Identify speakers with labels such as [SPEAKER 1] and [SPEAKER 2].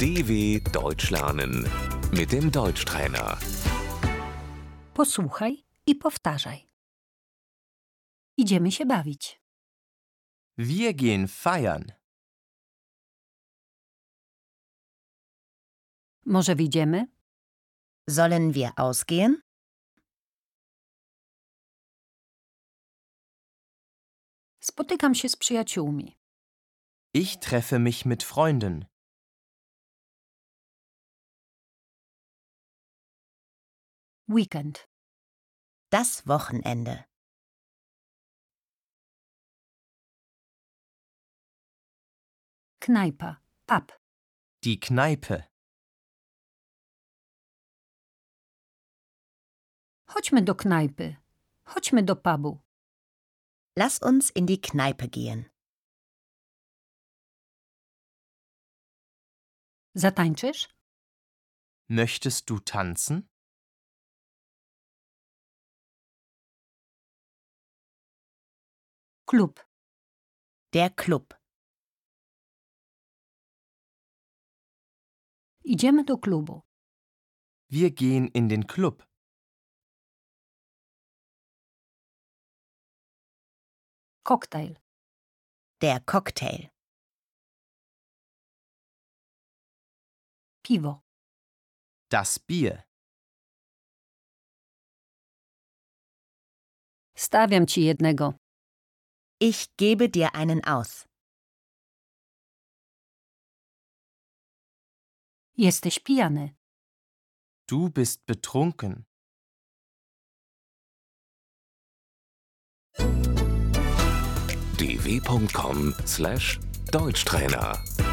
[SPEAKER 1] DW Deutsch lernen mit dem Deutschtrainer.
[SPEAKER 2] Posłuchaj i powtarzaj. Idziemy się bawić.
[SPEAKER 3] Wir gehen feiern.
[SPEAKER 2] Może wyjdziemy?
[SPEAKER 4] Sollen wir ausgehen?
[SPEAKER 2] Spotykam się z przyjaciółmi.
[SPEAKER 3] Ich treffe mich mit Freunden.
[SPEAKER 2] Weekend.
[SPEAKER 4] Das Wochenende.
[SPEAKER 2] Knajpa. Pub.
[SPEAKER 3] Die Kneipe.
[SPEAKER 2] Chodźmy do knajpy. Chodźmy do pubu.
[SPEAKER 4] Lass uns in die Kneipe gehen.
[SPEAKER 2] Zatańczysz?
[SPEAKER 3] Möchtest du tanzen?
[SPEAKER 2] Klub.
[SPEAKER 4] Der Club.
[SPEAKER 2] Idziemy do klubu.
[SPEAKER 3] Wir gehen in den Club.
[SPEAKER 2] Koktajl.
[SPEAKER 4] Der Cocktail.
[SPEAKER 2] Piwo.
[SPEAKER 3] Das Bier.
[SPEAKER 2] Stawiam ci jednego.
[SPEAKER 4] Ich gebe dir einen aus.
[SPEAKER 2] Jesteś pijany.
[SPEAKER 3] Du bist betrunken.
[SPEAKER 1] dw.com/deutschtrainer